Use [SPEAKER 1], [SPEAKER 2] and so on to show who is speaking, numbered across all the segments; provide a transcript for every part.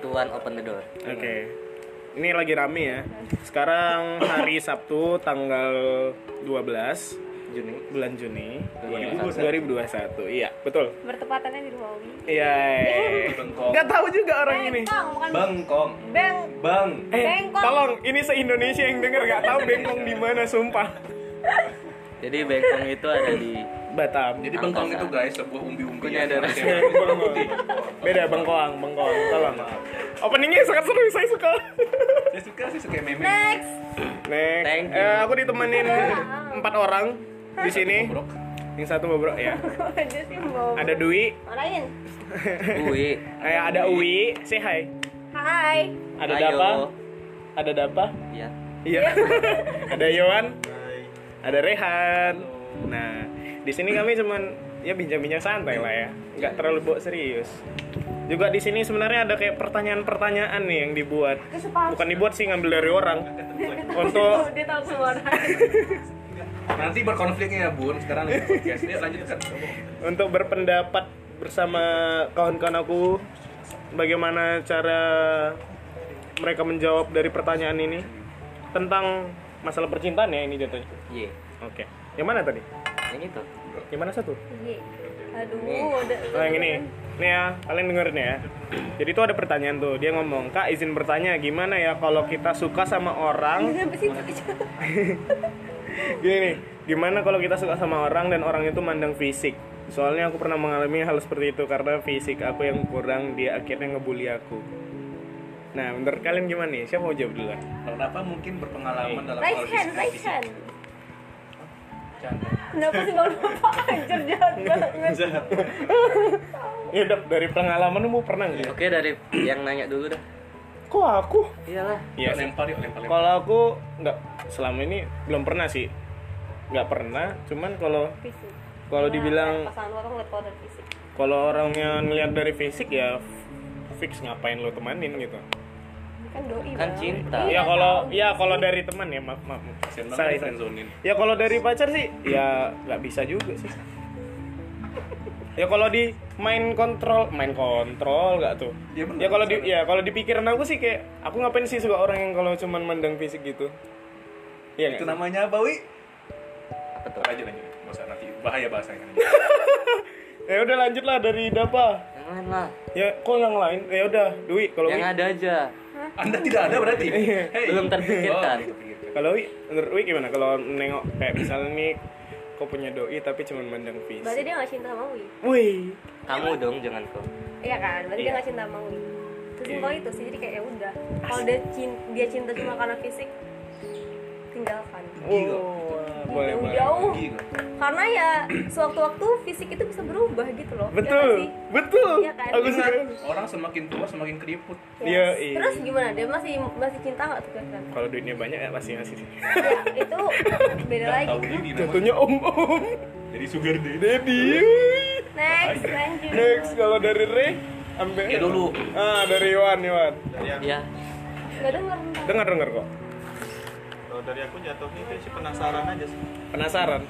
[SPEAKER 1] Tuan Open the Door.
[SPEAKER 2] Oke. Ini lagi rame ya. Sekarang hari Sabtu tanggal 12
[SPEAKER 1] Juni.
[SPEAKER 2] bulan Juni
[SPEAKER 1] 2021.
[SPEAKER 2] 2021. Iya, betul.
[SPEAKER 3] Bertepatannya di Ruawi.
[SPEAKER 2] Iya.
[SPEAKER 4] Bengkong.
[SPEAKER 2] Gak tahu juga orang ini.
[SPEAKER 3] Bengkong bukan
[SPEAKER 4] Bengkong.
[SPEAKER 3] beng.
[SPEAKER 4] Bang.
[SPEAKER 2] Eh,
[SPEAKER 3] Bengkong.
[SPEAKER 2] tolong ini se-Indonesia yang denger gak tahu bengkong di mana sumpah.
[SPEAKER 1] Jadi Bengkong itu ada di
[SPEAKER 2] Batam.
[SPEAKER 4] Jadi bengkong itu guys sebuah umbi-umbi
[SPEAKER 1] ya. Punya ada rasa.
[SPEAKER 2] Beda bengkoang, bengkoang. Tolong. Openingnya sangat seru, saya suka.
[SPEAKER 4] Saya suka, saya suka meme. gitu.
[SPEAKER 1] Eh.
[SPEAKER 3] Next.
[SPEAKER 2] Next.
[SPEAKER 1] Thank you.
[SPEAKER 2] Eh, aku ditemenin empat orang di sini.
[SPEAKER 4] Bobrok.
[SPEAKER 2] Yang satu bobrok ya.
[SPEAKER 3] Kok aja sih mau.
[SPEAKER 2] Ada Dwi,
[SPEAKER 3] Orain.
[SPEAKER 1] Ui.
[SPEAKER 2] eh, ada Uwi, say hi.
[SPEAKER 3] Hai.
[SPEAKER 2] Ada
[SPEAKER 1] Ayo.
[SPEAKER 2] Dapa, ada Dapa.
[SPEAKER 1] Iya.
[SPEAKER 2] Iya. ada Yohan. Ada Rehan. Nah, di sini kami cuman ya bincang-bincang santai lah ya. Nggak terlalu bawa serius. Juga di sini sebenarnya ada kayak pertanyaan-pertanyaan nih yang dibuat.
[SPEAKER 3] Kesepakatan.
[SPEAKER 2] Bukan dibuat sih ngambil dari orang. Untuk
[SPEAKER 3] Dia tahu semua orang.
[SPEAKER 4] Nanti berkonfliknya ya bun. Sekarang lagi podcast. kan? Yuk lanjutkan.
[SPEAKER 2] untuk berpendapat bersama kawan-kawan aku bagaimana cara mereka menjawab dari pertanyaan ini tentang masalah percintaan ya ini jatuhnya.
[SPEAKER 1] Ye.
[SPEAKER 2] Oke. Yang mana tadi?
[SPEAKER 1] Yang itu.
[SPEAKER 2] Yang mana satu?
[SPEAKER 3] Iya. Aduh, udah.
[SPEAKER 2] Oh, yang ini. Nih ya, kalian dengerin ya. Jadi tuh ada pertanyaan tuh. Dia ngomong, "Kak, izin bertanya, gimana ya kalau kita suka sama orang?"
[SPEAKER 3] Kenapa sih itu?
[SPEAKER 2] Gini nih, gimana kalau kita suka sama orang dan orang itu mandang fisik? Soalnya aku pernah mengalami hal seperti itu karena fisik aku yang kurang, dia akhirnya ngebully aku. Nah, menurut kalian gimana nih? Siapa mau jawab duluan?
[SPEAKER 4] Kenapa mungkin
[SPEAKER 1] Eh.
[SPEAKER 4] berpengalaman dalam
[SPEAKER 3] Raise hand,
[SPEAKER 4] diskusi
[SPEAKER 3] raise
[SPEAKER 4] fisik?
[SPEAKER 3] hand.
[SPEAKER 4] Canda.
[SPEAKER 3] Kenapa sih nggak lupa? Anjir jahat
[SPEAKER 2] Hmm.
[SPEAKER 3] banget.
[SPEAKER 2] Ya, Dok, dari pengalaman mau pernah nggak?
[SPEAKER 1] Oke dari yang nanya dulu dah.
[SPEAKER 2] Iya. Kok aku?
[SPEAKER 1] Iyalah.
[SPEAKER 2] Iya
[SPEAKER 4] Yuk,
[SPEAKER 2] sih.
[SPEAKER 4] lempar yuk, lempar lempar.
[SPEAKER 2] Kalau aku nggak selama ini belum pernah sih. Nggak pernah, cuman kalau
[SPEAKER 3] Fisik.
[SPEAKER 2] kalau dibilang
[SPEAKER 3] pasangan lu apa ngeliat kalau dari fisik?
[SPEAKER 2] kalau orangnya ngeliat dari fisik ya f- fix ngapain lo temanin gitu
[SPEAKER 3] Kan doi
[SPEAKER 1] Kan
[SPEAKER 3] Bang.
[SPEAKER 1] cinta.
[SPEAKER 2] ya
[SPEAKER 3] Iya,
[SPEAKER 2] kalau
[SPEAKER 3] tahu.
[SPEAKER 2] ya kalau dari teman ya maaf maaf Sorry,
[SPEAKER 4] Kasian banget di
[SPEAKER 2] sorry.
[SPEAKER 4] friendzonin.
[SPEAKER 2] ya kalau dari pacar sih ya nggak bisa juga sih ya kalau di main kontrol main kontrol nggak tuh
[SPEAKER 4] Dia benar.
[SPEAKER 2] ya kalau di ya kalau dipikiran aku sih kayak aku ngapain sih suka orang yang kalau cuman mandang fisik gitu Iya
[SPEAKER 4] Itu
[SPEAKER 2] nggak?
[SPEAKER 4] namanya apa, Wi?
[SPEAKER 1] Apa tuh?
[SPEAKER 4] Lanjut lanjut. Nggak usah, nanti bahaya bahasanya.
[SPEAKER 2] ya udah lanjut lah dari Dapa
[SPEAKER 1] Yang lain lah.
[SPEAKER 2] ya kok yang lain ya udah Dwi kalau
[SPEAKER 1] Yang
[SPEAKER 2] Wi-
[SPEAKER 1] ada aja.
[SPEAKER 4] Anda tidak ada berarti. Hey.
[SPEAKER 1] Iya, Belum terpikirkan.
[SPEAKER 4] Oh, belum terpikirkan.
[SPEAKER 2] Kalau Wi, menurut Wi gimana? Kalau nengok kayak misalnya nih kau punya doi tapi cuma mandang
[SPEAKER 3] Berarti
[SPEAKER 2] fisik.
[SPEAKER 3] dia nggak cinta sama Wi.
[SPEAKER 2] Wih.
[SPEAKER 1] Kamu dong jangan kau.
[SPEAKER 3] Iya kan? Berarti dia nggak cinta sama Wi.
[SPEAKER 2] Iya.
[SPEAKER 3] Sesimpel itu sih. Jadi kayak ya udah. Kalau dia cinta, dia cinta cuma karena fisik, tinggalkan.
[SPEAKER 2] Wow. Boleh,
[SPEAKER 3] Jauh
[SPEAKER 2] boleh.
[SPEAKER 3] jauh.
[SPEAKER 4] Gigi gua.
[SPEAKER 3] Karena ya sewaktu-waktu fisik itu bisa berubah gitu loh. Ya
[SPEAKER 2] Betul,
[SPEAKER 3] nggak sih?
[SPEAKER 2] betul.
[SPEAKER 3] Iya kan?
[SPEAKER 2] Aku suka.
[SPEAKER 4] Orang semakin tua semakin keriput.
[SPEAKER 2] Iya,
[SPEAKER 3] Yes.
[SPEAKER 2] iya.
[SPEAKER 3] Terus gimana? Dia masih masih cinta nggak tuh kan?
[SPEAKER 2] Kalau duitnya banyak ya pasti ngasih sih.
[SPEAKER 3] Ya, itu beda
[SPEAKER 4] Nggak
[SPEAKER 3] lagi.
[SPEAKER 4] tahu diri namanya.
[SPEAKER 2] Jatuhnya om-om.
[SPEAKER 4] Jadi sugar daddy.
[SPEAKER 2] Daddy.
[SPEAKER 3] Next, lanjut.
[SPEAKER 2] Next kalau dari Re ambil
[SPEAKER 4] Ya dulu.
[SPEAKER 2] Ah, dari Iwan, Iwan.
[SPEAKER 1] Iya.
[SPEAKER 3] Gak denger ntar.
[SPEAKER 2] Dengar dengar kok.
[SPEAKER 5] Kalau dari aku jatuhnya itu sih penasaran aja sih
[SPEAKER 2] Penasaran.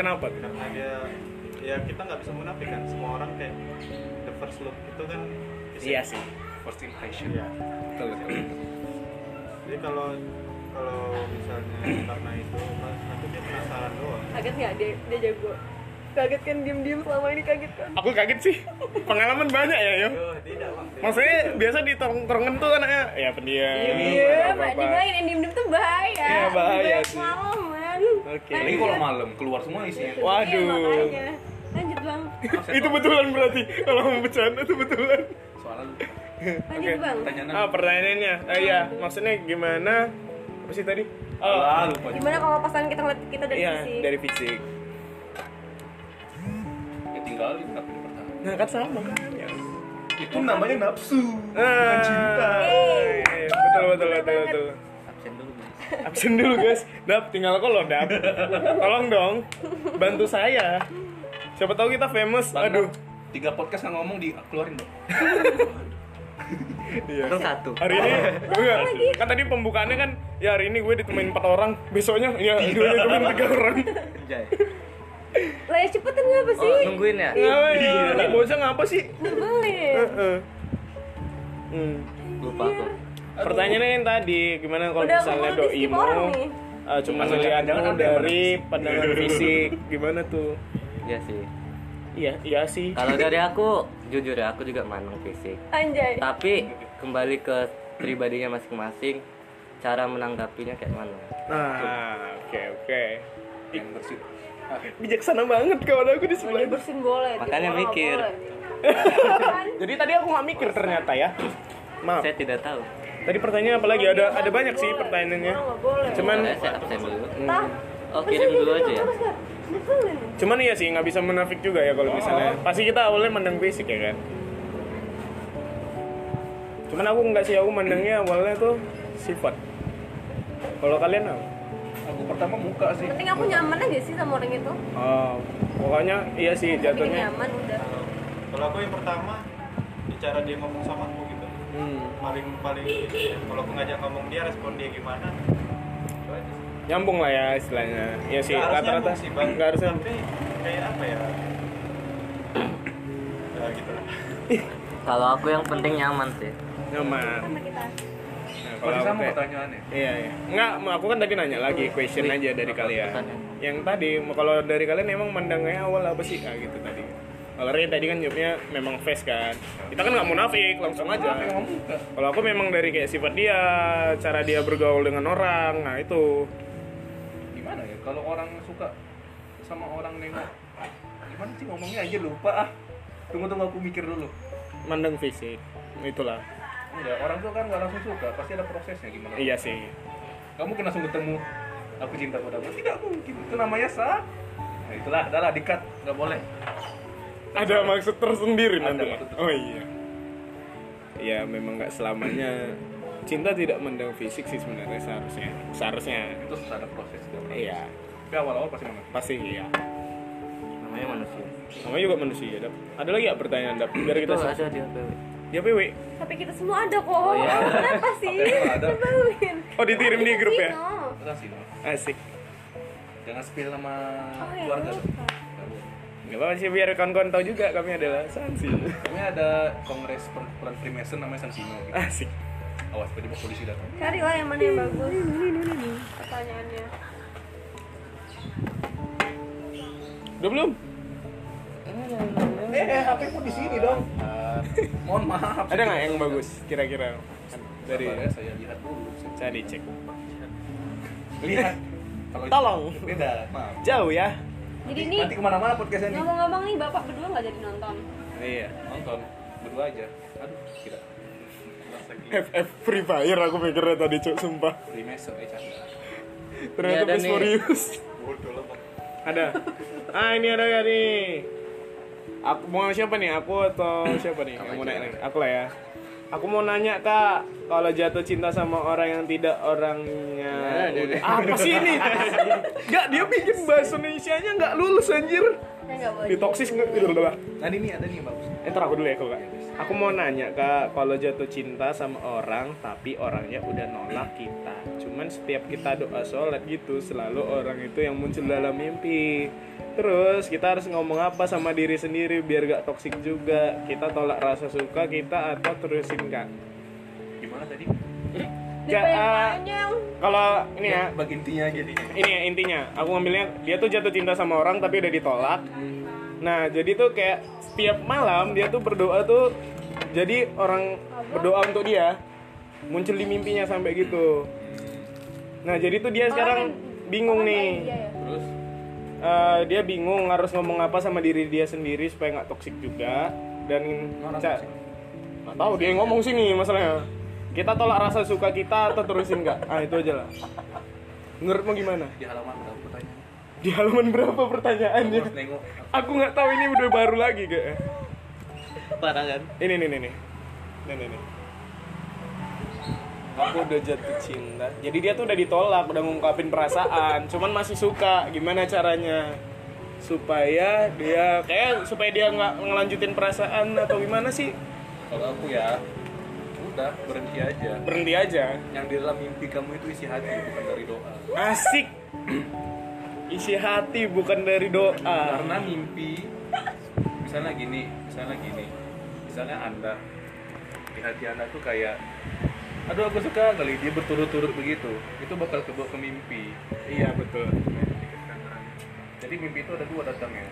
[SPEAKER 2] Kenapa? tuh?
[SPEAKER 5] karena dia ya kita nggak bisa menafikan semua orang kayak the first look itu kan is-
[SPEAKER 2] Iya sih.
[SPEAKER 4] First impression.
[SPEAKER 5] Iya.
[SPEAKER 2] Betul, betul.
[SPEAKER 5] Jadi kalau kalau misalnya karena itu aku dia penasaran doang.
[SPEAKER 3] Kaget nggak dia, dia jago? Kaget kan diem-diem selama ini kaget kan?
[SPEAKER 2] Aku kaget sih. Pengalaman banyak ya, yo.
[SPEAKER 5] Oh, tidak bang.
[SPEAKER 2] Maksudnya biasa di tongkrongan tuh anaknya ya pendiam.
[SPEAKER 3] Iya,
[SPEAKER 2] apa-apa.
[SPEAKER 3] Mbak Dimain yang diem-diem tuh bahaya.
[SPEAKER 2] Iya, bahaya
[SPEAKER 3] Banyak
[SPEAKER 2] sih.
[SPEAKER 3] pengalaman.
[SPEAKER 2] Oke.
[SPEAKER 4] Ini kalau malam keluar semua isinya.
[SPEAKER 2] Waduh.
[SPEAKER 3] Iya, makanya. Lanjut bang,
[SPEAKER 2] Itu betulan berarti kalau mau bercanda itu betulan.
[SPEAKER 4] Soalnya lu
[SPEAKER 3] lanjut bang.
[SPEAKER 4] pertanyaan
[SPEAKER 1] Oh.
[SPEAKER 2] Ah pertanyaannya, ah, iya maksudnya gimana? Apa sih tadi? Oh,
[SPEAKER 4] Ah, lupa.
[SPEAKER 3] Gimana kalau pasangan kita ngeliat kita dari
[SPEAKER 2] iya
[SPEAKER 3] sisi?
[SPEAKER 2] dari fisik.
[SPEAKER 4] Ya tinggal di kenapa di pertama.
[SPEAKER 2] Nah kan sama kan? Ya.
[SPEAKER 4] Itu namanya nafsu.
[SPEAKER 2] Ah,
[SPEAKER 4] Eh.
[SPEAKER 2] Betul betul betul betul.
[SPEAKER 1] Absen dulu guys.
[SPEAKER 2] Absen dulu guys, dap tinggal kok lo dap. Tolong dong, bantu saya. Siapa tahu kita famous. Aduh.
[SPEAKER 4] Tiga podcast nggak ngomong di keluarin dong.
[SPEAKER 2] Iya.
[SPEAKER 1] Terus satu.
[SPEAKER 2] hari ini enggak kan tadi pembukaannya kan ya hari ini gue ditemenin empat orang besoknya ya gue ditemenin tiga orang
[SPEAKER 1] Anjay.
[SPEAKER 3] Lah ya cepetan
[SPEAKER 2] Oh,
[SPEAKER 3] ngapa sih?
[SPEAKER 2] Iya.
[SPEAKER 1] Oh, nungguin ya?
[SPEAKER 2] ngapa ya bocah ngapa sih
[SPEAKER 3] Nyebelin.
[SPEAKER 2] Heeh. Hmm.
[SPEAKER 1] lupa aku
[SPEAKER 2] Pertanyaannya yang tadi gimana kalau
[SPEAKER 3] Udah
[SPEAKER 2] misalnya
[SPEAKER 3] keburu di skip
[SPEAKER 2] doimu
[SPEAKER 3] orang nih.
[SPEAKER 2] eh, cuma
[SPEAKER 4] Masuk
[SPEAKER 2] melihatmu
[SPEAKER 4] jangan-jangan ada yang
[SPEAKER 2] dari pandangan fisik gimana tuh?
[SPEAKER 1] iya sih
[SPEAKER 2] Iya, iya sih.
[SPEAKER 1] kalau dari aku jujur ya aku juga mandang fisik
[SPEAKER 3] Anjay.
[SPEAKER 1] tapi kembali ke pribadinya masing-masing cara menanggapinya kayak mana
[SPEAKER 2] Nah, oke oke.
[SPEAKER 4] yang bersih
[SPEAKER 2] Bijaksana banget kawan aku di
[SPEAKER 3] Lagi
[SPEAKER 2] sebelah.
[SPEAKER 3] bersin boleh. tiap
[SPEAKER 1] Makanya
[SPEAKER 3] orang nggak
[SPEAKER 1] mikir.
[SPEAKER 3] boleh.
[SPEAKER 2] Jadi tadi aku nggak mikir ternyata ya. Maaf.
[SPEAKER 1] saya tidak tahu
[SPEAKER 2] Tadi pertanyaan apa lagi? Ada ada banyak sih pertanyaannya.
[SPEAKER 3] Orang nggak boleh.
[SPEAKER 2] Cuman
[SPEAKER 1] saya, saya absen dulu
[SPEAKER 3] Tah,
[SPEAKER 1] oh kirim dulu aja ya
[SPEAKER 3] terus nggak? Nyeselin.
[SPEAKER 2] Cuman iya sih nggak bisa menafik juga ya kalau misalnya. Pasti kita awalnya mandang fisik ya kan. Cuman aku nggak sih aku mandangnya awalnya tuh sifat. Kalau kalian apa?
[SPEAKER 4] aku pertama muka sih
[SPEAKER 3] Penting aku nyaman aja sih sama orang itu.
[SPEAKER 2] Oh, pokoknya iya sih
[SPEAKER 3] Bikin
[SPEAKER 2] jatuhnya.
[SPEAKER 3] nyaman udah.
[SPEAKER 5] Kalau aku yang pertama, ya cara dia ngomong sama aku gitu.
[SPEAKER 2] Hmm.
[SPEAKER 5] Paling paling ya. kalau aku ngajak ngomong dia respon dia gimana? Itu aja sih.
[SPEAKER 2] Nyambung lah ya istilahnya. Iya sih
[SPEAKER 5] Nggak harus
[SPEAKER 2] rata-rata
[SPEAKER 5] nyambung sih, Bang.
[SPEAKER 2] nggak harus nyambung.
[SPEAKER 5] Tapi kayak apa ya? ya gitu lah.
[SPEAKER 1] kalau aku yang penting nyaman sih
[SPEAKER 2] nyaman.
[SPEAKER 3] Sama kita.
[SPEAKER 2] Nah, kalau
[SPEAKER 4] masih
[SPEAKER 2] aku
[SPEAKER 4] sama
[SPEAKER 2] kayak-
[SPEAKER 4] pertanyaannya
[SPEAKER 2] Iya, iya. Enggak, mau aku kan tadi nanya lagi question aja dari kalian.
[SPEAKER 4] ya?
[SPEAKER 2] Yang tadi mau- kalau dari kalian emang mandangnya awal apa sih Kak gitu tadi. Kalau Ray tadi kan jawabnya memang face kan. Kita kan nggak munafik, langsung aja. Kalau aku memang dari kayak sifat dia, cara dia bergaul dengan orang, nah itu.
[SPEAKER 4] gimana ya kalau orang suka sama orang nengok gimana sih ngomongnya aja lupa ah tunggu tunggu aku mikir dulu
[SPEAKER 2] Mandang fisik, itulah.
[SPEAKER 4] enggak orang tuh kan nggak langsung suka pasti ada prosesnya gimana
[SPEAKER 2] Iya sih.
[SPEAKER 4] kamu kan langsung ketemu aku cinta padamu tidak mungkin itu namanya sah nah, itulah adalah dikat nggak boleh
[SPEAKER 2] Ada maksud tersendiri
[SPEAKER 4] Ada
[SPEAKER 2] nanti.
[SPEAKER 4] maksud tersendiri.
[SPEAKER 2] Oh iya. Ya memang nggak selamanya cinta tidak mandang fisik sih sebenarnya seharusnya. Seharusnya.
[SPEAKER 4] itu susah ada proses
[SPEAKER 2] Iya.
[SPEAKER 4] tapi awal awal pasti memang
[SPEAKER 2] Pasti iya.
[SPEAKER 1] namanya manusia
[SPEAKER 2] Namanya juga manusia, Dap. Ada lagi ya pertanyaan, Dap? Biar
[SPEAKER 1] itu
[SPEAKER 2] kita
[SPEAKER 1] ada di HPW
[SPEAKER 2] Dia PW.
[SPEAKER 3] Tapi kita semua ada kok.
[SPEAKER 1] Oh, iya.
[SPEAKER 3] Kenapa sih?
[SPEAKER 4] ada.
[SPEAKER 3] Sebelin.
[SPEAKER 2] Oh, ditirim di grup ya?
[SPEAKER 3] Iya.
[SPEAKER 4] Terus sih no.
[SPEAKER 2] Asik.
[SPEAKER 4] jangan spill sama
[SPEAKER 3] Oh ya.
[SPEAKER 4] keluarga lo.
[SPEAKER 3] lupa.
[SPEAKER 4] Nggak boleh.
[SPEAKER 2] Gak apa sih, biar kawan-kawan tahu juga kami adalah Sansi.
[SPEAKER 4] Kami ada kongres perkumpulan Freemason namanya San Sino. Gitu.
[SPEAKER 2] Asik.
[SPEAKER 4] Awas tadi mau polisi datang.
[SPEAKER 3] Cari lah yang mana yang bagus. Pertanyaannya.
[SPEAKER 2] Udah belum?
[SPEAKER 4] Eh, HP pun di sini dong. Eh, Mohon maaf.
[SPEAKER 2] Ada nggak yang bagus kira-kira?
[SPEAKER 4] Dari eh,
[SPEAKER 2] Dari
[SPEAKER 4] saya lihat dulu.
[SPEAKER 2] saya dicek.
[SPEAKER 4] Lihat. Kalau itu
[SPEAKER 2] Tolong.
[SPEAKER 4] Beda. Maaf.
[SPEAKER 2] Jauh ya.
[SPEAKER 3] Jadi ini
[SPEAKER 4] Nanti kemana-mana podcastnya nih.
[SPEAKER 3] ngomong-ngomong nih bapak berdua nggak jadi nonton.
[SPEAKER 2] Iya.
[SPEAKER 4] Nonton berdua aja. Aduh, kira
[SPEAKER 2] FF Free Fire aku mikirnya tadi, Cuk, sumpah.
[SPEAKER 4] Freemason eh canda.
[SPEAKER 2] Ternyata
[SPEAKER 1] ada
[SPEAKER 2] Miss
[SPEAKER 1] nih.
[SPEAKER 2] Furious.
[SPEAKER 5] Bodoh lah, Bang.
[SPEAKER 2] Ada. Ah, ini ada ya nih. Aku mau siapa nih? Aku atau siapa nih? Yang mau naik lagi? Aku lah ya. Aku mau nanya kak, kalau jatuh cinta sama orang yang tidak orangnya apa sih ini? Gak dia bikin bahasa Indonesia nya nggak lulus anjir.
[SPEAKER 3] Saya Ya, nggak boleh.
[SPEAKER 2] Ditoksis nggak gitu loh.
[SPEAKER 4] Nah, ini ada nih yang bagus.
[SPEAKER 2] Entar aku dulu ya kak. Aku mau nanya kak, kalau jatuh cinta sama orang tapi orangnya udah nolak kita. Cuman setiap kita doa sholat gitu, selalu orang itu yang muncul dalam mimpi. Terus kita harus ngomong apa sama diri sendiri biar gak toksik juga. Kita tolak rasa suka kita atau terusin kak.
[SPEAKER 4] Gimana tadi?
[SPEAKER 3] Dia pengen
[SPEAKER 2] ah,
[SPEAKER 3] panjang.
[SPEAKER 2] kalau ini ya,
[SPEAKER 4] Bagi intinya aja nih.
[SPEAKER 2] ini ya intinya aku ngambilnya dia tuh jatuh cinta sama orang tapi udah ditolak nah jadi tuh kayak setiap malam dia tuh berdoa tuh jadi orang berdoa untuk dia muncul di mimpinya sampai gitu nah jadi tuh dia sekarang bingung nih
[SPEAKER 3] Iya ya.
[SPEAKER 4] Terus
[SPEAKER 2] Eh, dia bingung harus ngomong apa sama diri dia sendiri supaya nggak toksik juga dan
[SPEAKER 4] Orang
[SPEAKER 2] ca-
[SPEAKER 4] toksik.
[SPEAKER 2] nggak tahu dia yang ngomong sini masalahnya kita tolak rasa suka kita atau terusin nggak ah itu aja lah menurutmu gimana
[SPEAKER 4] di halaman berapa pertanyaan?
[SPEAKER 2] di halaman berapa
[SPEAKER 4] Aku
[SPEAKER 2] pertanyaannya?
[SPEAKER 4] harus nengok.
[SPEAKER 2] Aku nggak tahu ini udah baru lagi gak?
[SPEAKER 1] parah kan
[SPEAKER 2] Ini nih nih nih. Nih nih nih. Aku udah jatuh cinta. Jadi dia tuh udah ditolak, udah ngungkapin perasaan, cuman masih suka. Gimana caranya? Supaya dia kayak supaya dia nggak ngelanjutin perasaan atau gimana sih?
[SPEAKER 4] Kalau aku ya udah berhenti aja.
[SPEAKER 2] Berhenti aja.
[SPEAKER 4] Yang di dalam mimpi kamu itu isi hati bukan dari doa.
[SPEAKER 2] Asik. Isi hati bukan dari doa.
[SPEAKER 4] karena mimpi misalnya gini misalnya gini misalnya anda di hati anak tuh kayak aduh aku suka kali dia berturut-turut begitu itu bakal kebawa ke mimpi
[SPEAKER 2] iya betul
[SPEAKER 4] jadi mimpi itu ada dua datangnya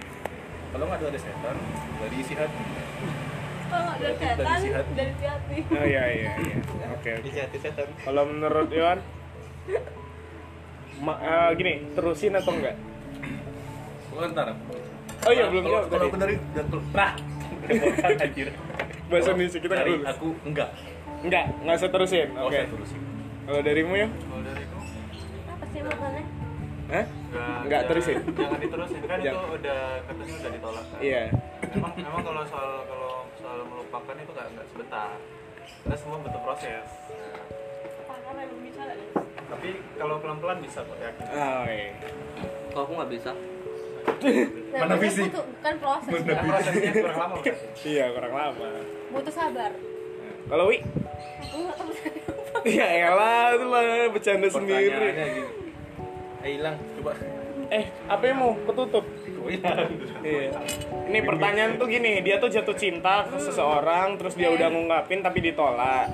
[SPEAKER 4] kalau nggak ada- ada setan dari isi hati
[SPEAKER 3] Kalau ada
[SPEAKER 4] Dari
[SPEAKER 3] setan
[SPEAKER 4] isi hati.
[SPEAKER 3] dari hati.
[SPEAKER 2] oh iya iya iya oke oke
[SPEAKER 5] Isi hati setan.
[SPEAKER 2] kalau menurut Iwan ma- eh, gini terusin atau enggak
[SPEAKER 4] Gua ntar
[SPEAKER 2] oh iya belum
[SPEAKER 4] kalau
[SPEAKER 2] jawab
[SPEAKER 4] kalau
[SPEAKER 2] tadi
[SPEAKER 4] aku dari dari- nah Bebotan, anjir
[SPEAKER 2] bahasa Indonesia kita nggak
[SPEAKER 4] dari
[SPEAKER 2] lulus
[SPEAKER 4] aku enggak
[SPEAKER 2] enggak nggak usah terusin
[SPEAKER 4] Nggak
[SPEAKER 2] oke
[SPEAKER 4] usah terusin
[SPEAKER 2] kalau darimu ya
[SPEAKER 5] Kalau dari itu
[SPEAKER 3] Apa sih makannya?
[SPEAKER 2] Hah? nggak terusin
[SPEAKER 5] Jangan diterusin kan itu
[SPEAKER 2] Jangan.
[SPEAKER 5] udah katanya udah ditolak kan.
[SPEAKER 2] iya
[SPEAKER 5] Emang emang kalau soal kalau soal melupakan itu nggak nggak sebentar. Karena semua butuh proses. Nah,
[SPEAKER 3] Parah memang bicara deh.
[SPEAKER 5] tapi kalau pelan-pelan bisa kok ya. yakin.
[SPEAKER 2] oh, iya.
[SPEAKER 1] Kok aku nggak bisa?
[SPEAKER 3] Nah,
[SPEAKER 4] Mana
[SPEAKER 3] makanya
[SPEAKER 4] fisik?
[SPEAKER 3] Butuh, bukan proses,
[SPEAKER 5] Kan
[SPEAKER 3] bukan.
[SPEAKER 5] prosesnya kurang lama kan.
[SPEAKER 2] iya kurang lama
[SPEAKER 3] butuh sabar.
[SPEAKER 2] kalau Wi
[SPEAKER 3] Aku nggak tahu tadi apa.
[SPEAKER 2] ya elah itu lah bercanda
[SPEAKER 4] pertanyaannya
[SPEAKER 2] sendiri
[SPEAKER 3] Ya,
[SPEAKER 4] gini eh hilang coba
[SPEAKER 2] eh apa yang mau ketutup
[SPEAKER 4] Kok hilang
[SPEAKER 2] Iya. Ini pertanyaan tuh gini, dia tuh jatuh cinta ke seseorang, terus dia udah ngungkapin tapi ditolak.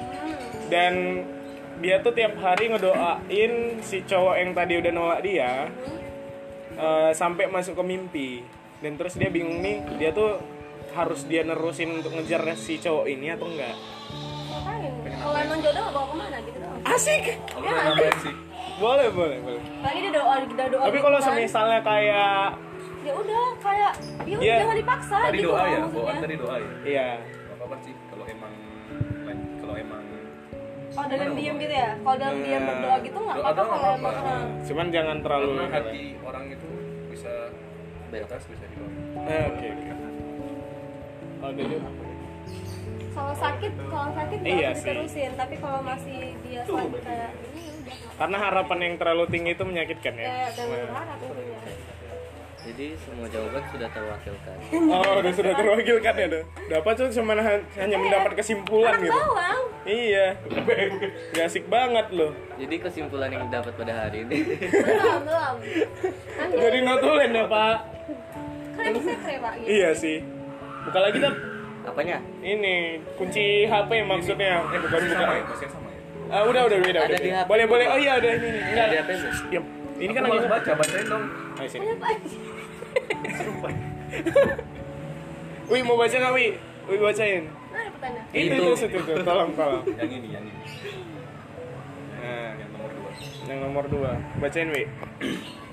[SPEAKER 2] Dan dia tuh tiap hari ngedoain si cowok yang tadi udah nolak dia eh, sampai masuk ke mimpi. Dan terus dia bingung nih, dia tuh harus dia nerusin untuk ngejar si cowok ini atau enggak?
[SPEAKER 3] Ngapain? Kalau emang jodoh nggak bawa kemana gitu doang.
[SPEAKER 2] Asik.
[SPEAKER 4] Kalau udah nambahin sih
[SPEAKER 2] Boleh, boleh, boleh.
[SPEAKER 3] Lagi dia doa, dia doa.
[SPEAKER 2] Tapi kalau
[SPEAKER 3] gitu kan.
[SPEAKER 2] semisalnya kayak
[SPEAKER 3] ya udah kayak ya udah
[SPEAKER 2] Iya.
[SPEAKER 3] jangan dipaksa
[SPEAKER 4] tadi
[SPEAKER 3] gitu
[SPEAKER 4] doa
[SPEAKER 3] loh
[SPEAKER 4] ya bawaan
[SPEAKER 3] maksudnya.
[SPEAKER 4] tadi doa ya
[SPEAKER 2] iya,
[SPEAKER 4] Gak apa-apa sih kalau emang kalau emang
[SPEAKER 3] Kalau dalam diam gitu ya, kalau dalam diam
[SPEAKER 2] Nah,
[SPEAKER 3] berdoa gitu nggak
[SPEAKER 4] Doa
[SPEAKER 3] apa-apa
[SPEAKER 4] doang
[SPEAKER 3] kalau
[SPEAKER 4] nggak
[SPEAKER 3] emang.
[SPEAKER 4] apa-apa.
[SPEAKER 3] nah.
[SPEAKER 2] cuman jangan terlalu
[SPEAKER 4] karena hati orang itu bisa di atas bisa di bawah
[SPEAKER 2] Eh, oke. oke. Oh, udah, Ju.
[SPEAKER 3] Kalau sakit, kalau sakit nggak
[SPEAKER 2] Iya
[SPEAKER 3] harus
[SPEAKER 2] sih.
[SPEAKER 3] diterusin, tapi kalau masih dia selalu kayak ini ya udah. nggak-
[SPEAKER 2] Karena harapan yang terlalu tinggi itu menyakitkan ya.
[SPEAKER 3] Kayak dan berharap intinya.
[SPEAKER 1] Jadi semua jawaban sudah terwakilkan.
[SPEAKER 2] Oh, udah
[SPEAKER 1] Iya.
[SPEAKER 2] sudah terwakilkan ya, tuh. Dapat tuh cuma han- hanya mendapat kesimpulan gitu.
[SPEAKER 3] Bawang,
[SPEAKER 2] Iya. Gak asik banget loh.
[SPEAKER 1] Jadi kesimpulan yang dapat pada hari ini
[SPEAKER 3] belum belum. Nanti
[SPEAKER 2] Jadi notulen ya, Pak.
[SPEAKER 3] kan ini sekre pak gitu.
[SPEAKER 2] Iya sih. Buka lagi tuh
[SPEAKER 1] apanya?
[SPEAKER 2] ini kunci HP maksudnya. Eh, bukan
[SPEAKER 4] masih
[SPEAKER 2] buka.
[SPEAKER 4] sama ya masih sama ya
[SPEAKER 2] Ah, udah, udah, udah,
[SPEAKER 1] Ada
[SPEAKER 2] udah.
[SPEAKER 1] di HP.
[SPEAKER 2] Boleh, boleh. Oh iya, udah ini. Enggak.
[SPEAKER 1] Ada apa itu?
[SPEAKER 2] Diam. Ini kan
[SPEAKER 4] Aku
[SPEAKER 2] lagi
[SPEAKER 4] malas baca bacain dong
[SPEAKER 2] Ayo sini.
[SPEAKER 3] Ada apa Nah, aja?
[SPEAKER 2] Wih, mau baca nggak, Wi? Wi bacain.
[SPEAKER 3] Nah, ada pertanyaan.
[SPEAKER 2] Itu, itu,
[SPEAKER 1] Itu.
[SPEAKER 2] itu, itu. Tolong, tolong.
[SPEAKER 4] yang ini yang ini
[SPEAKER 2] Nah,
[SPEAKER 4] yang nomor dua
[SPEAKER 2] yang nomor dua. Bacain, Wi.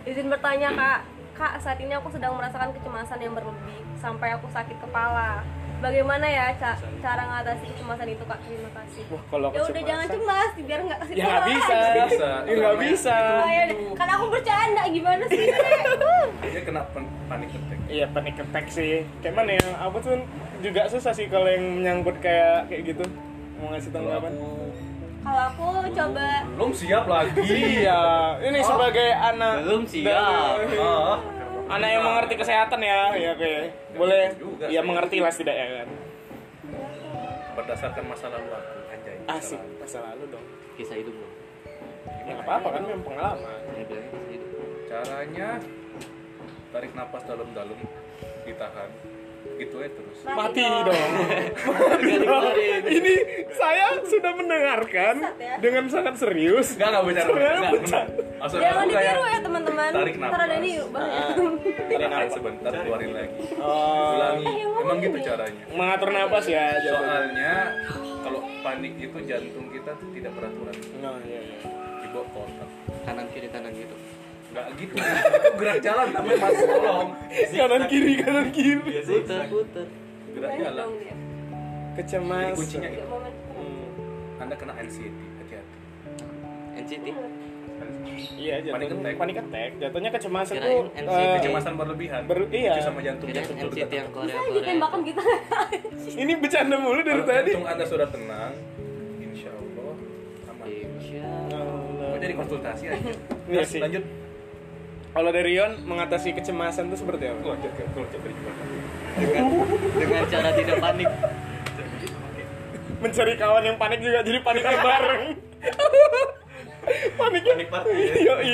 [SPEAKER 3] Izin bertanya kak, kak saat ini aku sedang merasakan kecemasan yang berlebih sampai aku sakit kepala. Bagaimana ya ca- cara mengatasi kecemasan itu kak? Terima kasih.
[SPEAKER 2] Wah, kalau
[SPEAKER 3] Ya udah
[SPEAKER 2] kecemasan-
[SPEAKER 3] jangan cemas, biar nggak kasih
[SPEAKER 2] Ya nggak bisa.
[SPEAKER 4] Nggak bisa.
[SPEAKER 2] Ya nggak bisa. Gitu.
[SPEAKER 3] Kan aku bercanda gimana sih? Nek?
[SPEAKER 4] dia kena pan- panic attack
[SPEAKER 2] Iya panic attack sih. Kayak mana ya? Aku tuh juga susah sih kalau yang menyangkut kayak kayak gitu. Mau ngasih
[SPEAKER 4] kalau
[SPEAKER 2] tanggapan?
[SPEAKER 4] aku
[SPEAKER 3] Kalau aku coba
[SPEAKER 4] belum siap lagi
[SPEAKER 2] Iya, ini
[SPEAKER 4] Oh.
[SPEAKER 2] sebagai anak
[SPEAKER 1] Belum
[SPEAKER 4] ya.
[SPEAKER 1] siap.
[SPEAKER 2] dari-
[SPEAKER 4] ah
[SPEAKER 2] anak yang mengerti kesehatan ya,
[SPEAKER 4] Oh,
[SPEAKER 2] ya oke. Boleh.
[SPEAKER 4] iya, Juga
[SPEAKER 2] Ya
[SPEAKER 4] sih.
[SPEAKER 2] mengerti lah tidak ya kan.
[SPEAKER 4] berdasarkan masa lalu aku anjay
[SPEAKER 2] Asik masa lalu dong.
[SPEAKER 1] Kisah hidupmu.
[SPEAKER 2] Ya nggak apa-apa kan memang pengalaman.
[SPEAKER 1] Dia bilang kisah hidup.
[SPEAKER 4] caranya tarik napas dalam-dalam ditahan gitu aja terus
[SPEAKER 3] Nah.
[SPEAKER 2] Mati dong.
[SPEAKER 1] Gak dikeluarin.
[SPEAKER 2] ini saya sudah mendengarkan
[SPEAKER 3] Sat ya.
[SPEAKER 2] dengan sangat serius.
[SPEAKER 4] Enggak, enggak bicara.
[SPEAKER 2] Sebenarnya
[SPEAKER 4] Enggak, Maksud
[SPEAKER 3] Jangan
[SPEAKER 4] aku kayak
[SPEAKER 3] ditiru ya teman-teman.
[SPEAKER 4] tarik
[SPEAKER 3] Ntar ada
[SPEAKER 4] nafas.
[SPEAKER 3] ini yuk bang. ya.
[SPEAKER 2] Ah.
[SPEAKER 4] tarik nafas sebentar keluarin lagi.
[SPEAKER 2] Oh,
[SPEAKER 4] Ulangi.
[SPEAKER 3] Eh, yang
[SPEAKER 4] Emang gitu
[SPEAKER 3] ngomong
[SPEAKER 4] caranya.
[SPEAKER 2] mengatur nafas ya jawabannya.
[SPEAKER 4] Soalnya kalau panik itu jantung kita tuh tidak beraturan.
[SPEAKER 2] Nah, iya, iya.
[SPEAKER 4] Dibawa ke otak.
[SPEAKER 1] Kanan kiri kanan gitu.
[SPEAKER 4] Enggak gitu. Itu gerak jalan namanya Mas Tolong.
[SPEAKER 2] Kanan kiri kanan kiri.
[SPEAKER 1] Puter puter.
[SPEAKER 4] Gerak
[SPEAKER 3] Banyak
[SPEAKER 4] jalan.
[SPEAKER 3] dong dia.
[SPEAKER 4] Jadi
[SPEAKER 2] kecemasan Hmm.
[SPEAKER 4] kuncinya
[SPEAKER 3] Yuk,
[SPEAKER 4] itu.
[SPEAKER 3] momen.
[SPEAKER 4] Anda kena anxiety, hati-hati.
[SPEAKER 1] NCT.
[SPEAKER 2] iya jatuh
[SPEAKER 4] Panic attack.
[SPEAKER 2] panik attack jatuhnya kecemasan
[SPEAKER 1] Kirain
[SPEAKER 2] tuh
[SPEAKER 1] MC
[SPEAKER 2] eh,
[SPEAKER 4] Kecemasan berlebihan.
[SPEAKER 2] Ber- iya.
[SPEAKER 4] Itu sama jantung
[SPEAKER 1] Kira
[SPEAKER 4] jantung
[SPEAKER 1] NCT yang
[SPEAKER 4] berdetak.
[SPEAKER 1] Korea
[SPEAKER 3] Lagi
[SPEAKER 1] Korea.
[SPEAKER 3] tembakan kita.
[SPEAKER 2] ini bercanda mulu dari
[SPEAKER 4] Kalau
[SPEAKER 2] tadi
[SPEAKER 4] jantung Anda sudah tenang, insya Allah aman.
[SPEAKER 1] Insya
[SPEAKER 4] Mau jadi konsultasi aja.
[SPEAKER 2] Iya
[SPEAKER 4] Terus
[SPEAKER 2] sih.
[SPEAKER 4] lanjut.
[SPEAKER 2] kalau dari Rion mengatasi kecemasan tuh seperti apa
[SPEAKER 4] Lanjut ke lanjut dari jembatan.
[SPEAKER 1] dengan dengan cara tidak panik.
[SPEAKER 2] mencari kawan yang panik juga jadi paniknya bareng paniknya
[SPEAKER 5] Panik party ya.
[SPEAKER 2] yoi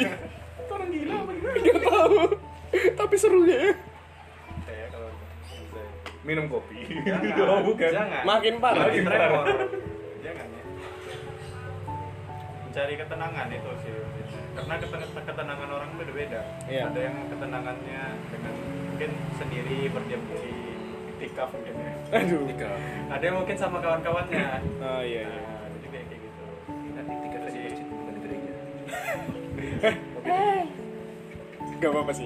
[SPEAKER 2] orang gila apa gimana tahu tapi seru ya
[SPEAKER 5] Saya kalau bisa.
[SPEAKER 4] minum kopi
[SPEAKER 5] Jangan.
[SPEAKER 4] oh, bukan
[SPEAKER 5] Jangan.
[SPEAKER 2] Makin parah.
[SPEAKER 5] Makin
[SPEAKER 4] Makin parah.
[SPEAKER 5] tremor. Jangan ya. Mencari ketenangan itu sih. Karena keten- ketenangan orang beda-beda.
[SPEAKER 2] Iya.
[SPEAKER 5] Ada yang ketenangannya dengan mungkin sendiri berdiam diri ketika mungkin ya.
[SPEAKER 2] Aduh.
[SPEAKER 5] Ada yang mungkin sama kawan-kawannya.
[SPEAKER 2] Oh iya iya.
[SPEAKER 5] Nah, jadi kayak kayak gitu.
[SPEAKER 4] nanti tiga kali masjid bukan di gereja
[SPEAKER 3] eh
[SPEAKER 2] Gak apa-apa sih.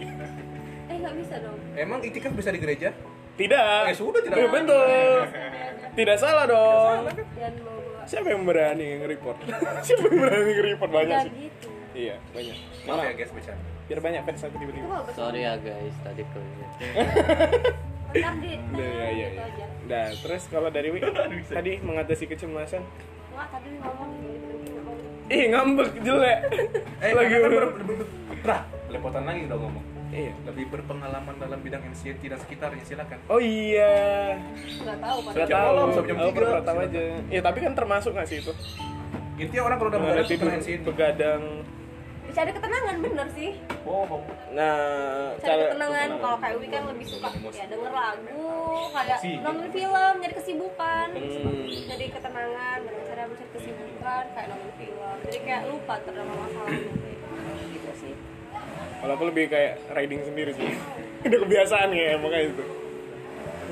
[SPEAKER 3] eh nggak bisa dong
[SPEAKER 4] emang itikaf bisa di gereja
[SPEAKER 2] Tidak.
[SPEAKER 4] Eh, sudah, tidak
[SPEAKER 2] Eh,
[SPEAKER 4] apa-apa.
[SPEAKER 2] Betul. Tidak salah dong.
[SPEAKER 3] jangan bawa bawa
[SPEAKER 2] Siapa yang berani nge-report? Siapa yang berani nge-report banyak
[SPEAKER 3] jangan
[SPEAKER 2] sih?
[SPEAKER 3] gitu
[SPEAKER 2] Iya, banyak.
[SPEAKER 4] maaf ya guys bercanda
[SPEAKER 2] Biar banyak fans aku
[SPEAKER 3] itu
[SPEAKER 2] tiba-tiba.
[SPEAKER 3] kalau bentar
[SPEAKER 1] sorry ya guys tadi kelihatan
[SPEAKER 3] di
[SPEAKER 2] Udah, iya, iya,
[SPEAKER 3] gitu
[SPEAKER 2] iya.
[SPEAKER 3] aja
[SPEAKER 2] Nah, terus kalau dari Wi tadi mengatasi kecemasan.
[SPEAKER 3] Wah, tadi lu ngomong gitu, gitu, ngomong.
[SPEAKER 2] Ih, ngambek jelek.
[SPEAKER 4] eh
[SPEAKER 2] Lagi
[SPEAKER 4] lagi
[SPEAKER 2] ber...
[SPEAKER 4] lepotan lagi udah ngomong
[SPEAKER 2] Iya.
[SPEAKER 4] lebih berpengalaman dalam bidang anxiety dan sekitarnya silakan
[SPEAKER 2] Oh iya.
[SPEAKER 3] nggak tahu
[SPEAKER 2] Sudah
[SPEAKER 3] padahal
[SPEAKER 4] jam
[SPEAKER 2] tahu.
[SPEAKER 4] malam, sampai jam
[SPEAKER 2] Oh,
[SPEAKER 4] tiga.
[SPEAKER 2] baru tahu aja. Ya, tapi kan termasuk nggak sih itu?
[SPEAKER 4] intinya Gitu ya, orang kalau udah
[SPEAKER 2] Nah,
[SPEAKER 4] mengalami
[SPEAKER 2] tidur
[SPEAKER 4] anxiety
[SPEAKER 2] begadang.
[SPEAKER 3] bisa ada ketenangan bener sih
[SPEAKER 4] bohong
[SPEAKER 2] Nah,
[SPEAKER 3] cari ketenangan kalau kayak Wi kan lebih suka ya denger lagu kayak nonton film nyari kesibukan jadi ketenangan dengan cara mencari kesibukan kayak nonton film jadi kayak lupa terhadap masalah gitu sih
[SPEAKER 2] Kalau aku lebih kayak riding sendiri sih. Udah kebiasaan ya makanya itu. gitu.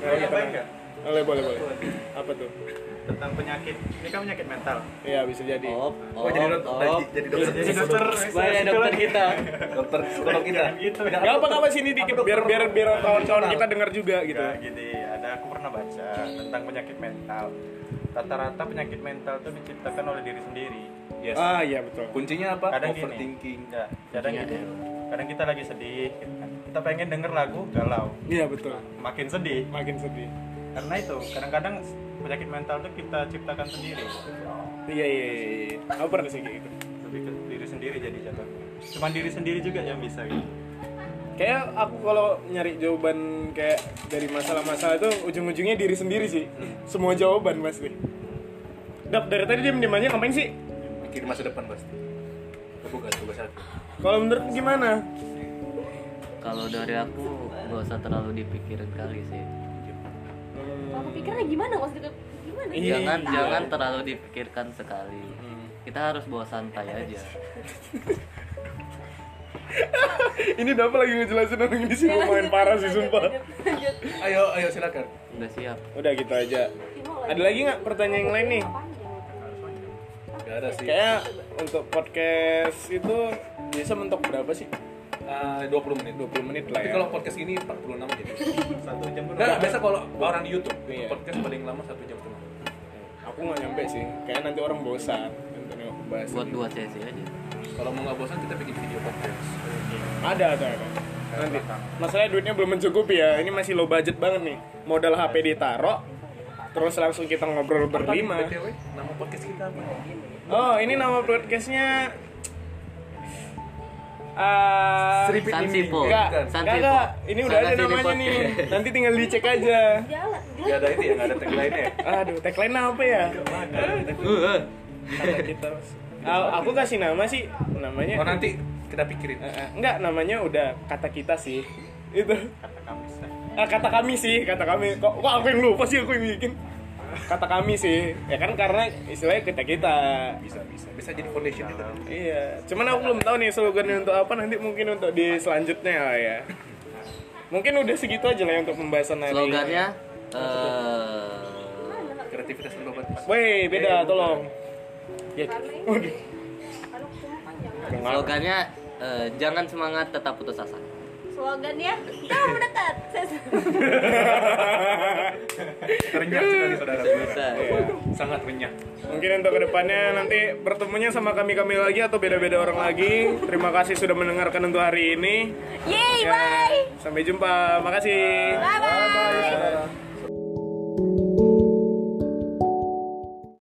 [SPEAKER 5] Kalau yang baik ya
[SPEAKER 2] Boleh, boleh, boleh. Apa tuh?
[SPEAKER 5] tentang penyakit. Ini kan penyakit mental.
[SPEAKER 2] Iya, bisa jadi.
[SPEAKER 1] oh
[SPEAKER 4] oh, jadi dokter
[SPEAKER 1] oh.
[SPEAKER 4] jadi
[SPEAKER 2] Iya,
[SPEAKER 4] dokter
[SPEAKER 5] Jadi dokter,
[SPEAKER 1] Bahaya dokter kita
[SPEAKER 4] dokter psikolog kita
[SPEAKER 5] gitu.
[SPEAKER 2] Gak apa-apa sini dikit biar biar biar kawan-kawan kita dengar juga gitu.
[SPEAKER 5] Enggak, gini, ada aku pernah baca tentang penyakit mental. Rata-rata penyakit mental itu diciptakan oleh diri sendiri.
[SPEAKER 4] yes
[SPEAKER 2] Ah, iya betul.
[SPEAKER 4] kuncinya apa
[SPEAKER 5] Kadang gini.
[SPEAKER 4] overthinking
[SPEAKER 5] Ya, kadang gini. Kadang kita lagi sedih, gitu kan. kita pengen denger lagu galau,
[SPEAKER 2] Iya, betul.
[SPEAKER 5] makin sedih.
[SPEAKER 2] Makin sedih.
[SPEAKER 5] Karena itu, kadang-kadang penyakit mental itu kita ciptakan sendiri.
[SPEAKER 2] Iya, iya, iya. iya. Aku pernah sih kayak gitu.
[SPEAKER 5] Lebih ke diri sendiri jadi jatuhnya. Cuman diri sendiri juga yang bisa gitu.
[SPEAKER 2] Kayak aku kalau nyari jawaban kayak dari masalah-masalah itu ujung-ujungnya diri sendiri sih. Semua jawaban pasti. Dap, dari tadi diem-diem aja ngapain sih?
[SPEAKER 4] mikir masa depan pasti Oh, bukan tugas satu
[SPEAKER 2] Kalau menurut gimana?
[SPEAKER 1] kalau dari aku nggak usah terlalu dipikirin kali sih
[SPEAKER 3] kalau pikirnya gimana nggak usah deket- gimana
[SPEAKER 2] Iya.
[SPEAKER 1] jangan jangan terlalu dipikirkan sekali
[SPEAKER 2] Hmm.
[SPEAKER 1] kita harus bawa santai aja
[SPEAKER 2] Ini Dapa lagi ngejelasin orang ini sih
[SPEAKER 3] Ya, lanjut,
[SPEAKER 2] lumayan parah sih
[SPEAKER 3] lanjut,
[SPEAKER 2] sumpah.
[SPEAKER 3] lanjut, lanjut.
[SPEAKER 4] ayo ayo silakan
[SPEAKER 1] udah siap
[SPEAKER 2] Udah gitu aja.
[SPEAKER 3] Ih, mau
[SPEAKER 2] Ada lagi nggak pertanyaan yang lain nih?
[SPEAKER 3] Apaan ya?
[SPEAKER 4] gak ada sih
[SPEAKER 2] Kayaknya untuk podcast itu biasa mentok berapa sih?
[SPEAKER 4] Eh, 20 menit
[SPEAKER 2] 20 menit lah
[SPEAKER 4] tapi
[SPEAKER 2] ya.
[SPEAKER 4] kalau podcast ini 46 jadi
[SPEAKER 5] Satu jam
[SPEAKER 4] Nggak, nggak, biasa kalau orang di YouTube
[SPEAKER 2] Iya.
[SPEAKER 4] podcast paling lama satu jam setengah
[SPEAKER 2] aku nggak nyampe sih. Kayak nanti orang bosan untuk nengok bahas.
[SPEAKER 1] buat dua sesi aja
[SPEAKER 4] kalau mau nggak bosan kita bikin video podcast
[SPEAKER 2] Ada ada ada. Nanti. Masalahnya duitnya belum mencukupi ya. Ini masih low budget banget nih. Modal HP ditaruh. Terus langsung kita ngobrol berlima.
[SPEAKER 4] BTW, nama podcast kita apa
[SPEAKER 2] Oh ini nama podcastnya Ah,
[SPEAKER 4] Seripit
[SPEAKER 1] Sansipo.
[SPEAKER 4] ini.
[SPEAKER 2] Enggak,
[SPEAKER 1] Sansipo.
[SPEAKER 2] enggak, enggak. Ini udah ada
[SPEAKER 1] Sana sini
[SPEAKER 2] namanya nih.
[SPEAKER 1] podcast.
[SPEAKER 2] Nanti tinggal dicek aja.
[SPEAKER 3] jalan
[SPEAKER 4] Gak ada itu ya, gak ada tagline ya.
[SPEAKER 2] Aduh, tagline apa ya? Kata kita. Ah, aku kasih nama sih namanya.
[SPEAKER 4] Oh nanti kita pikirin.
[SPEAKER 2] Eh, eh, enggak, namanya udah kata kita sih. Itu.
[SPEAKER 5] kata kamu sih.
[SPEAKER 2] Ah, kata kami sih, kata kami. Kok, kok aku yang lupa sih aku yang bikin? Kata kami sih. Ya kan karena istilahnya kita kita.
[SPEAKER 4] Bisa bisa. Bisa jadi foundation kita.
[SPEAKER 2] Iya. Cuman aku belum tahu nih slogannya untuk apa nanti mungkin untuk di selanjutnya lah ya. Mungkin udah segitu aja lah ya untuk pembahasan hari ini.
[SPEAKER 1] slogannya eh
[SPEAKER 4] Kreativitas dan obat.
[SPEAKER 2] Woi, beda
[SPEAKER 5] Iya,
[SPEAKER 2] tolong. Ya, waduh.
[SPEAKER 3] Aduh, sumpah, jangan.
[SPEAKER 1] slogannya eh, jangan semangat tetap putus asa
[SPEAKER 3] slogannya jauh mendekat
[SPEAKER 4] Renyah sekali saudara.
[SPEAKER 1] bisa
[SPEAKER 4] Sangat renyah.
[SPEAKER 2] Mungkin untuk kedepannya nanti bertemunya sama kami-kami lagi atau beda-beda orang lagi. Terima kasih sudah mendengarkan untuk hari ini.
[SPEAKER 3] yeay
[SPEAKER 2] Ya,
[SPEAKER 3] bye
[SPEAKER 2] Sampai jumpa. Makasih.
[SPEAKER 3] bye bye
[SPEAKER 4] Bye.